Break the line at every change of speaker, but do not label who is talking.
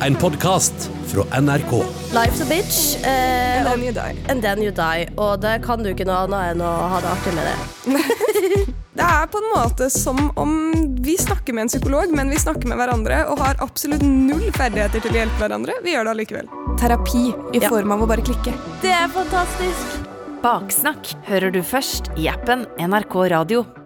En podkast fra NRK.
Life's a bitch. eh,
Det er
og-
en ny dag.
and then you die. Og det kan du ikke noe annet enn å ha det artig med det.
Det er på en måte som om vi snakker med en psykolog, men vi snakker med hverandre og har absolutt null ferdigheter til å hjelpe hverandre. Vi gjør det allikevel. Terapi i
Ja.
form av å bare klikke.
Det er fantastisk.
Baksnakk hører du først i appen NRK Radio.